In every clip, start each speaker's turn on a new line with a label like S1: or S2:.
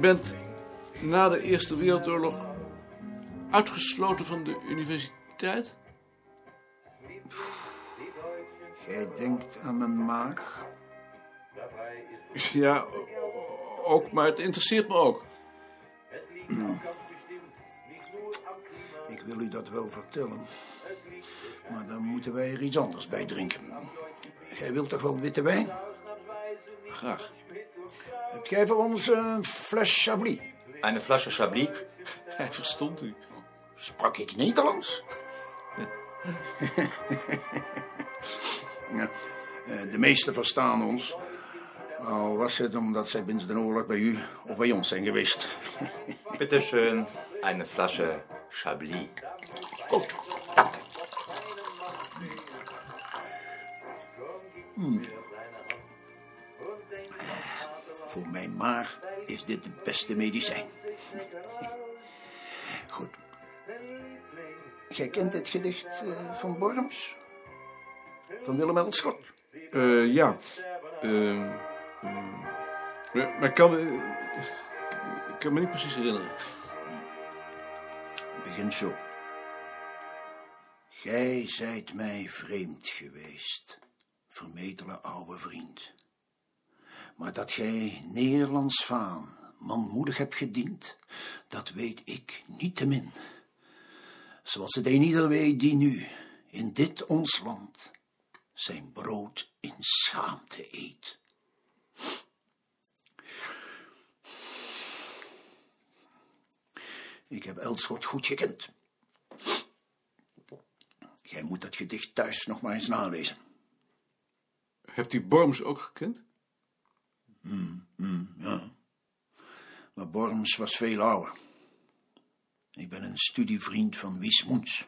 S1: bent na de Eerste Wereldoorlog uitgesloten van de universiteit?
S2: Jij denkt aan mijn maag.
S1: Ja, o- ook, maar het interesseert me ook.
S2: Ik wil u dat wel vertellen. Maar dan moeten wij er iets anders bij drinken. Jij wilt toch wel witte wijn?
S1: Graag.
S2: Heb jij voor ons een fles Chablis?
S3: Eine Flasche Chablis?
S1: Hij verstond u.
S2: Sprak ik Nederlands? ja, eh, de meesten verstaan ons. Al was het omdat zij binnen de oorlog bij u of bij ons zijn geweest.
S3: Bitte schön, eine Flasche Chablis.
S2: Goed. Mm. Voor mijn maag is dit het beste medicijn. Goed. Jij kent het gedicht eh, van Borms? Van Willem Elschot?
S1: Eh, ja. Ehm, ehm, maar maar ik kan, me, ik kan me niet precies herinneren.
S2: Begin zo. Gij zijt mij vreemd geweest, vermetele oude vriend. Maar dat gij Nederlands vaan manmoedig hebt gediend, dat weet ik niet te min. Zoals het een ieder weet die nu in dit ons land zijn brood in schaamte eet. Ik heb Elschot goed gekend. Jij moet dat gedicht thuis nog maar eens nalezen.
S1: Hebt u Borms ook gekend?
S2: Maar Borms was veel ouder. Ik ben een studievriend van Wies Moens.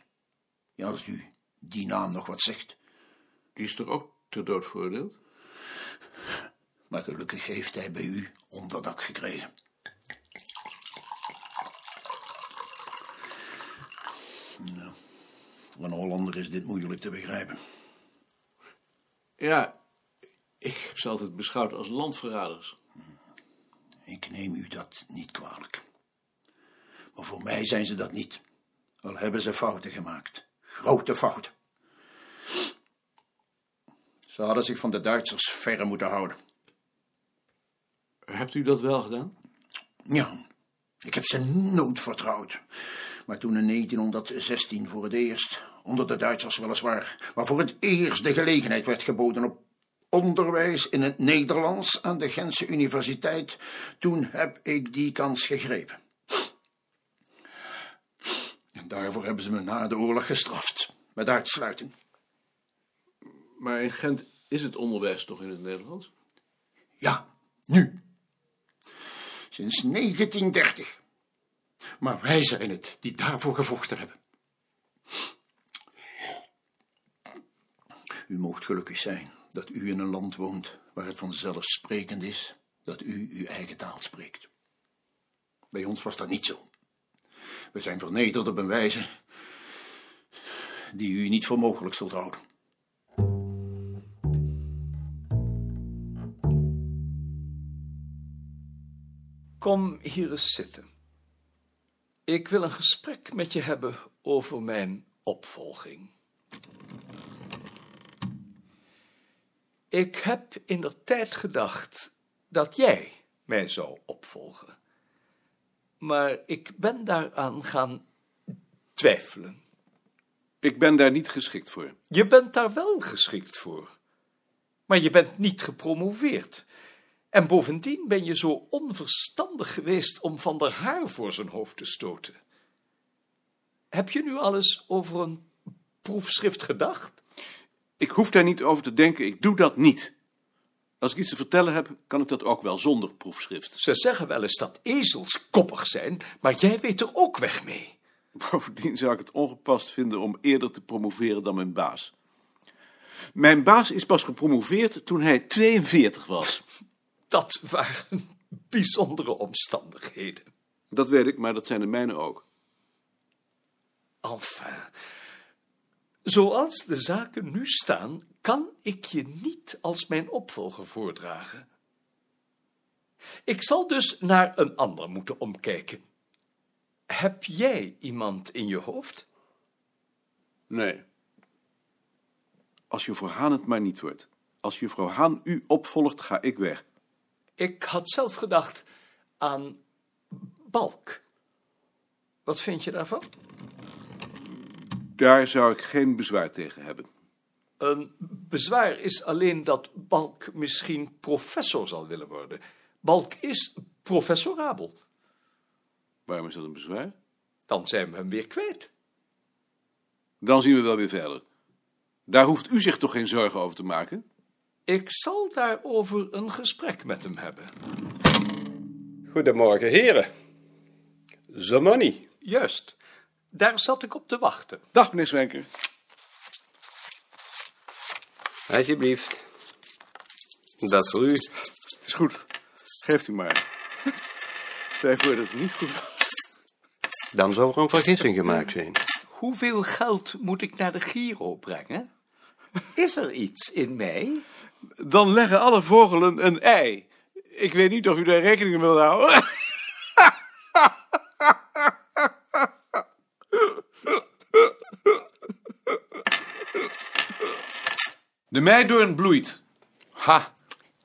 S2: Ja, als u die naam nog wat zegt.
S1: Die is toch ook ter dood veroordeeld?
S2: Maar gelukkig heeft hij bij u onderdak gekregen. Nou, voor een Hollander is dit moeilijk te begrijpen.
S1: Ja, ik heb ze altijd beschouwd als landverraders.
S2: Ik neem u dat niet kwalijk. Maar voor mij zijn ze dat niet. Al hebben ze fouten gemaakt. Grote fouten. Ze hadden zich van de Duitsers verre moeten houden.
S1: Hebt u dat wel gedaan?
S2: Ja, ik heb ze nooit vertrouwd. Maar toen in 1916 voor het eerst, onder de Duitsers weliswaar, maar voor het eerst de gelegenheid werd geboden op onderwijs in het Nederlands aan de Gentse Universiteit, toen heb ik die kans gegrepen. En daarvoor hebben ze me na de oorlog gestraft, met uitsluiting.
S1: Maar in Gent is het onderwijs toch in het Nederlands?
S2: Ja, nu. Sinds 1930. Maar wij zijn het die daarvoor gevochten hebben. U moogt gelukkig zijn dat u in een land woont waar het vanzelfsprekend is dat u uw eigen taal spreekt. Bij ons was dat niet zo. We zijn vernederd op een wijze die u niet voor mogelijk zult houden.
S4: Kom hier eens zitten. Ik wil een gesprek met je hebben over mijn opvolging. Ik heb in der tijd gedacht dat jij mij zou opvolgen. Maar ik ben daaraan gaan twijfelen.
S1: Ik ben daar niet geschikt voor.
S4: Je bent daar wel geschikt voor. Maar je bent niet gepromoveerd. En bovendien ben je zo onverstandig geweest om van der Haar voor zijn hoofd te stoten. Heb je nu alles over een proefschrift gedacht?
S1: Ik hoef daar niet over te denken, ik doe dat niet. Als ik iets te vertellen heb, kan ik dat ook wel zonder proefschrift.
S4: Ze zeggen wel eens dat ezels koppig zijn, maar jij weet er ook weg mee.
S1: Bovendien zou ik het ongepast vinden om eerder te promoveren dan mijn baas. Mijn baas is pas gepromoveerd toen hij 42 was.
S4: Dat waren bijzondere omstandigheden.
S1: Dat weet ik, maar dat zijn de mijne ook.
S4: Enfin, zoals de zaken nu staan, kan ik je niet als mijn opvolger voordragen. Ik zal dus naar een ander moeten omkijken. Heb jij iemand in je hoofd?
S1: Nee. Als juffrouw Haan het maar niet wordt. Als juffrouw Haan u opvolgt, ga ik weg.
S4: Ik had zelf gedacht aan Balk. Wat vind je daarvan?
S1: Daar zou ik geen bezwaar tegen hebben.
S4: Een bezwaar is alleen dat Balk misschien professor zal willen worden. Balk is professorabel.
S1: Waarom is dat een bezwaar?
S4: Dan zijn we hem weer kwijt.
S1: Dan zien we wel weer verder. Daar hoeft u zich toch geen zorgen over te maken?
S4: Ik zal daarover een gesprek met hem hebben.
S5: Goedemorgen, heren. Zamani.
S4: Juist, daar zat ik op te wachten.
S1: Dag, meneer Zwenker.
S5: Alsjeblieft. Dat voor u.
S1: Het is goed. Geeft u maar. Stel je voor dat het niet goed was.
S5: Dan zou er een vergissing gemaakt zijn.
S4: Hoeveel geld moet ik naar de Giro brengen? Is er iets in mij?
S1: Dan leggen alle vogelen een ei. Ik weet niet of u daar rekening mee wil houden. De meidoorn bloeit. Ha,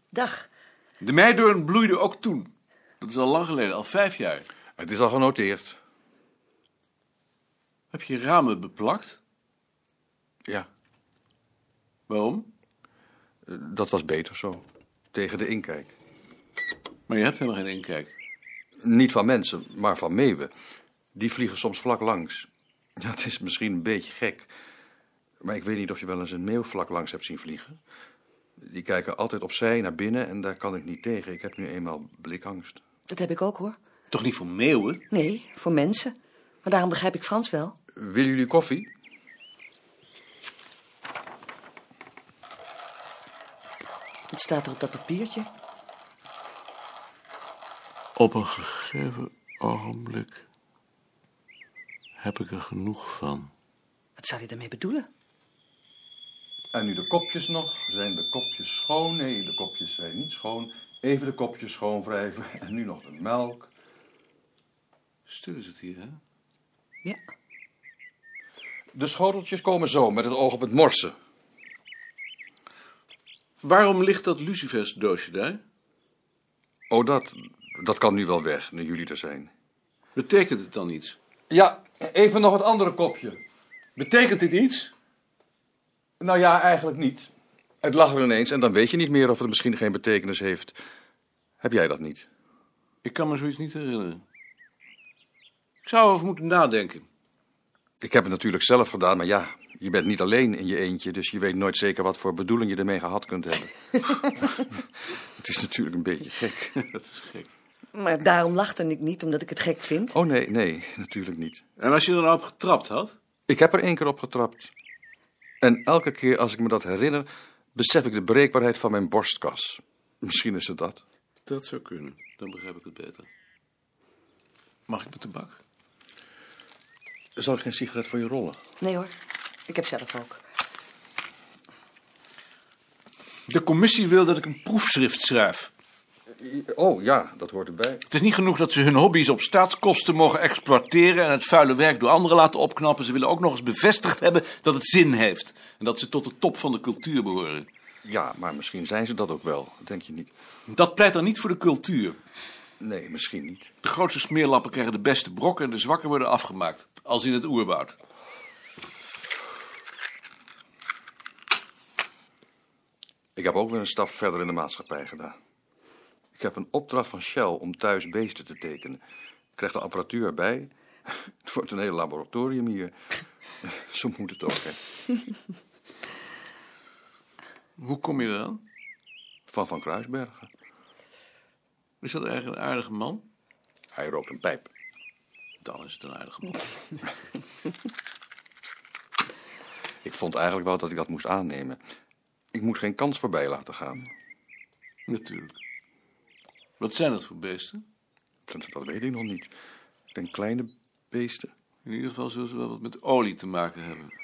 S6: Dag.
S1: de meidoorn bloeide ook toen. Dat is al lang geleden, al vijf jaar.
S7: Het is al genoteerd.
S1: Heb je ramen beplakt?
S7: Ja,
S1: Waarom?
S7: dat was beter zo. Tegen de inkijk.
S1: Maar je hebt helemaal geen inkijk.
S7: Niet van mensen, maar van meeuwen. Die vliegen soms vlak langs. Ja, het is misschien een beetje gek. Maar ik weet niet of je wel eens een meeuw vlak langs hebt zien vliegen. Die kijken altijd opzij naar binnen en daar kan ik niet tegen. Ik heb nu eenmaal blikangst.
S6: Dat heb ik ook hoor.
S1: Toch niet voor meeuwen?
S6: Nee, voor mensen. Maar daarom begrijp ik Frans wel.
S7: Willen jullie koffie?
S6: Wat staat er op dat papiertje?
S8: Op een gegeven ogenblik heb ik er genoeg van.
S6: Wat zou je daarmee bedoelen?
S7: En nu de kopjes nog. Zijn de kopjes schoon? Nee, de kopjes zijn niet schoon. Even de kopjes schoonwrijven. En nu nog de melk.
S1: Stil is het hier, hè?
S6: Ja.
S7: De schoteltjes komen zo, met het oog op het morsen.
S1: Waarom ligt dat lucifersdoosje daar?
S7: Oh, dat, dat kan nu wel weg, nu jullie er zijn.
S1: Betekent het dan iets?
S7: Ja, even nog het andere kopje.
S1: Betekent dit iets?
S7: Nou ja, eigenlijk niet. Het lag er ineens en dan weet je niet meer of het misschien geen betekenis heeft. Heb jij dat niet?
S1: Ik kan me zoiets niet herinneren. Ik zou over moeten nadenken.
S7: Ik heb het natuurlijk zelf gedaan, maar ja, je bent niet alleen in je eentje, dus je weet nooit zeker wat voor bedoeling je ermee gehad kunt hebben. het is natuurlijk een beetje gek.
S1: Dat is gek.
S6: Maar daarom lachte ik niet, omdat ik het gek vind.
S7: Oh nee, nee, natuurlijk niet.
S1: En als je er nou op getrapt had?
S7: Ik heb er één keer op getrapt. En elke keer als ik me dat herinner, besef ik de breekbaarheid van mijn borstkas. Misschien is het dat.
S1: Dat zou kunnen. Dan begrijp ik het beter. Mag ik met de bak?
S7: Zal ik geen sigaret voor je rollen?
S6: Nee hoor, ik heb zelf ook.
S1: De commissie wil dat ik een proefschrift schrijf.
S7: Oh ja, dat hoort erbij.
S1: Het is niet genoeg dat ze hun hobby's op staatskosten mogen exploiteren en het vuile werk door anderen laten opknappen. Ze willen ook nog eens bevestigd hebben dat het zin heeft. En dat ze tot de top van de cultuur behoren.
S7: Ja, maar misschien zijn ze dat ook wel. Denk je niet?
S1: Dat pleit dan niet voor de cultuur.
S7: Nee, misschien niet.
S1: De grootste smeerlappen krijgen de beste brokken en de zwakken worden afgemaakt. Als in het oerwoud.
S7: Ik heb ook weer een stap verder in de maatschappij gedaan. Ik heb een opdracht van Shell om thuis beesten te tekenen. Ik krijg de apparatuur erbij. Het wordt een heel laboratorium hier. Zo moet het ook, hè.
S1: Hoe kom je eraan?
S7: Van Van Kruisbergen.
S1: Is dat eigenlijk een aardige man?
S7: Hij rookt een pijp.
S1: Dan is het een aardige man.
S7: Ik vond eigenlijk wel dat ik dat moest aannemen. Ik moet geen kans voorbij laten gaan.
S1: Natuurlijk. Wat zijn dat voor beesten?
S7: Dat, dat weet ik nog niet. Ik denk kleine beesten.
S1: In ieder geval zullen ze wel wat met olie te maken hebben.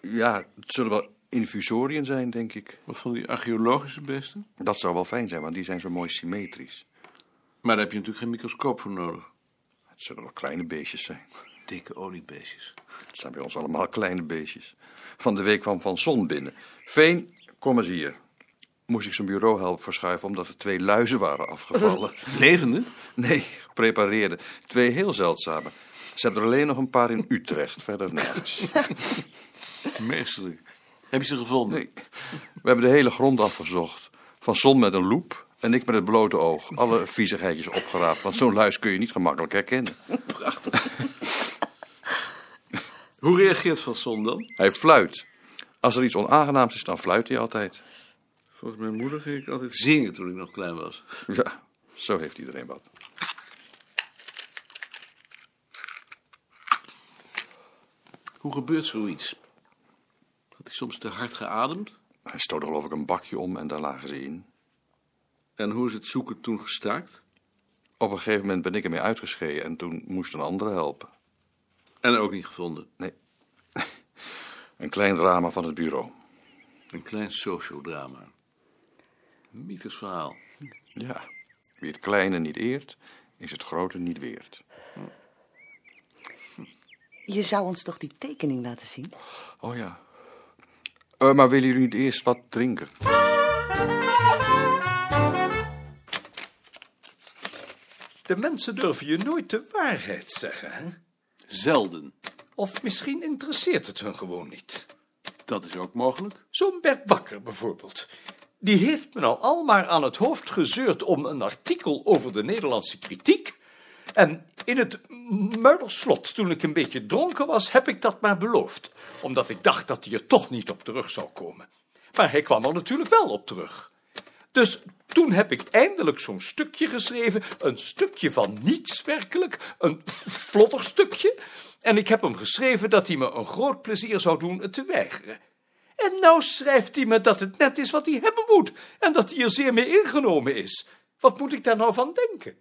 S7: Ja, het zullen wel infusorien zijn, denk ik.
S1: Wat van die archeologische beesten?
S7: Dat zou wel fijn zijn, want die zijn zo mooi symmetrisch.
S1: Maar daar heb je natuurlijk geen microscoop voor nodig.
S7: Het zullen wel kleine beestjes zijn.
S1: Dikke oliebeestjes.
S7: Het zijn bij ons allemaal kleine beestjes. Van de week kwam Van Son binnen. Veen, kom eens hier. Moest ik zijn bureau helpen verschuiven omdat er twee luizen waren afgevallen.
S1: Levende?
S7: Nee, geprepareerde. Twee heel zeldzame. Ze hebben er alleen nog een paar in Utrecht, verder nergens.
S1: Meesterlijk. Heb je ze gevonden?
S7: Nee. We hebben de hele grond afgezocht. Van Son met een loep en ik met het blote oog. Alle viezigheidjes opgeraapt, want zo'n luis kun je niet gemakkelijk herkennen.
S1: Hoe reageert Van Son dan?
S7: Hij fluit. Als er iets onaangenaams is, dan fluit hij altijd.
S1: Volgens mijn moeder ging ik altijd zingen toen ik nog klein was.
S7: Ja, zo heeft iedereen wat.
S1: Hoe gebeurt zoiets? Had hij soms te hard geademd?
S7: Hij stoot er, geloof ik een bakje om en daar lagen ze in.
S1: En hoe is het zoeken toen gestaakt?
S7: Op een gegeven moment ben ik ermee uitgeschreven en toen moest een andere helpen.
S1: En ook niet gevonden.
S7: Nee. Een klein drama van het bureau.
S1: Een klein sociodrama. Een mythisch verhaal.
S7: Ja. Wie het kleine niet eert, is het grote niet weert.
S6: Je zou ons toch die tekening laten zien?
S7: Oh ja. Eh, maar willen jullie niet eerst wat drinken?
S4: De mensen durven je nooit de waarheid zeggen, hè?
S1: Zelden.
S4: Of misschien interesseert het hun gewoon niet.
S1: Dat is ook mogelijk.
S4: Zo'n Bert Bakker bijvoorbeeld. Die heeft me nou al maar aan het hoofd gezeurd om een artikel over de Nederlandse kritiek. En in het muiderslot, toen ik een beetje dronken was, heb ik dat maar beloofd. Omdat ik dacht dat hij er toch niet op terug zou komen. Maar hij kwam er natuurlijk wel op terug. Dus toen heb ik eindelijk zo'n stukje geschreven, een stukje van niets werkelijk, een vlotter stukje. En ik heb hem geschreven dat hij me een groot plezier zou doen het te weigeren. En nou schrijft hij me dat het net is wat hij hebben moet en dat hij er zeer mee ingenomen is. Wat moet ik daar nou van denken?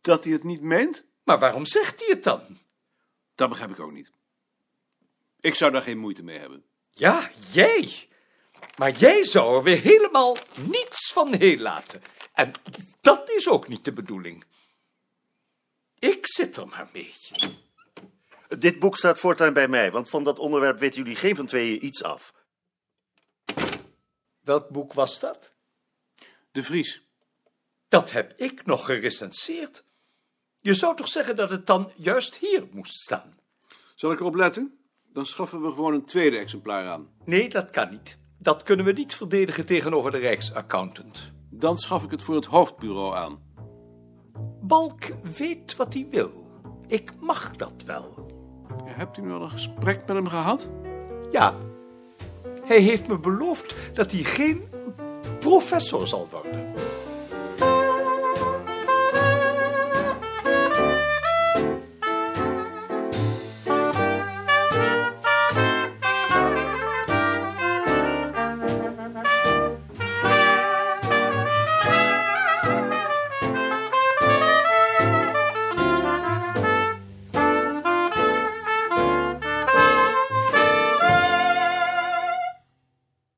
S1: Dat hij het niet meent?
S4: Maar waarom zegt hij het dan?
S1: Dat begrijp ik ook niet. Ik zou daar geen moeite mee hebben.
S4: Ja, jij. Maar jij zou er weer helemaal niets van heel laten. En dat is ook niet de bedoeling. Ik zit er maar mee.
S9: Dit boek staat voortaan bij mij, want van dat onderwerp weten jullie geen van tweeën iets af.
S4: Welk boek was dat?
S1: De Vries.
S4: Dat heb ik nog gerecenseerd. Je zou toch zeggen dat het dan juist hier moest staan?
S1: Zal ik erop letten? Dan schaffen we gewoon een tweede exemplaar aan.
S4: Nee, dat kan niet. Dat kunnen we niet verdedigen tegenover de Rijksaccountant.
S1: Dan schaf ik het voor het hoofdbureau aan.
S4: Balk weet wat hij wil. Ik mag dat wel.
S1: Hebt u nu al een gesprek met hem gehad?
S4: Ja. Hij heeft me beloofd dat hij geen professor zal worden.